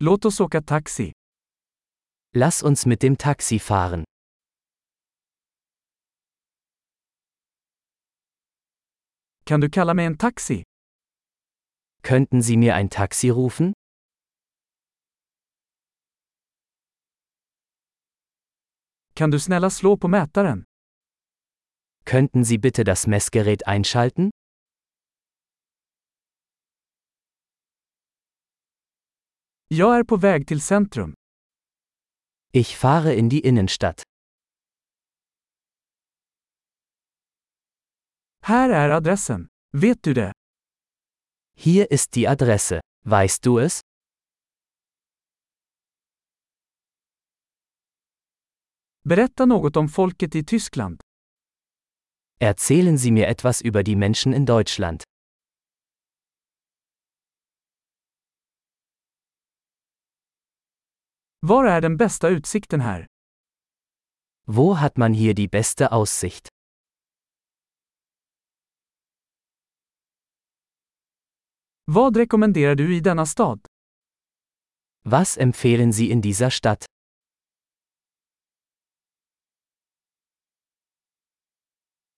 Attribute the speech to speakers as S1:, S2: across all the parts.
S1: Låt oss åka taxi.
S2: Lass uns mit dem Taxi fahren.
S1: Kan du kalla mig en taxi?
S2: Könnten Sie mir ein Taxi rufen?
S1: Kan du snälla slå på mätaren?
S2: Könnten Sie bitte das Messgerät einschalten?
S1: Jag är på väg till centrum.
S2: Ich fahre in die Innenstadt.
S1: Här är adressen. Vet du det?
S2: Hier ist die Adresse. Weißt du es?
S1: Berätta något om folket i Tyskland.
S2: Erzählen Sie mir etwas über die Menschen in Deutschland.
S1: Var är den bästa utsikten här?
S2: Wo hat man hier die beste Aussicht?
S1: Vad rekommenderar du i denna stad?
S2: Was empfehlen Sie in dieser Stadt?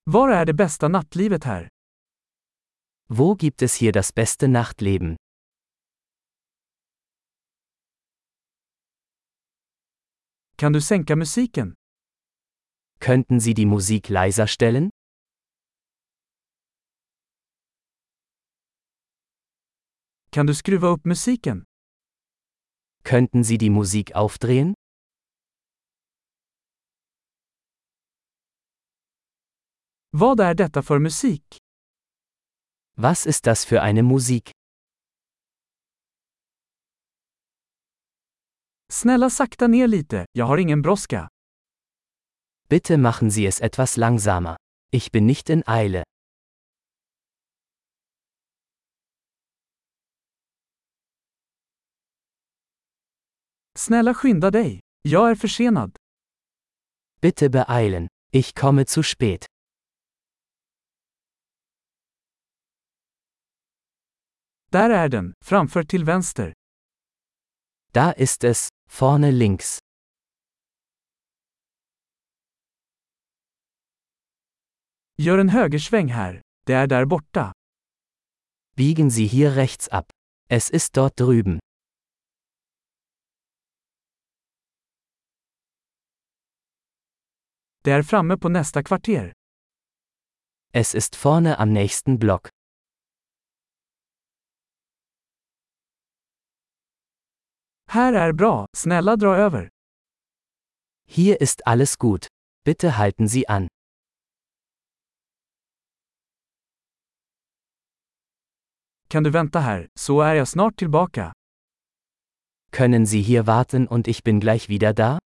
S1: Var är det bästa nattlivet här?
S2: Wo gibt es hier das beste Nachtleben?
S1: Kan du sänka musiken?
S2: Könnten Sie die Musik leiser stellen?
S1: Kan du skruva upp musiken?
S2: Könnten Sie die Musik aufdrehen?
S1: Vad är detta för musik?
S2: Was ist das für eine Musik?
S1: Snälla sakta ner lite, jag har ingen brådska.
S2: Bitte machen Sie es etwas langsamer. Ich bin nicht in Eile.
S1: Snälla skynda dig. Jag är försenad.
S2: Bitte beeilen. Ich komme zu spät.
S1: Där är den, framför till vänster.
S2: Da ist es, vorne links.
S1: Gör en högersväng här. Det är där borta.
S2: Biegen Sie hier rechts ab. Es ist dort drüben.
S1: Det är framme på nästa kvarter.
S2: Es ist vorne am nächsten Block.
S1: Här är bra, snälla dra över.
S2: Hier ist alles gut. Bitte halten Sie an.
S1: Kan du vänta här, så är jag snart tillbaka.
S2: Können Sie hier warten und ich bin gleich wieder da?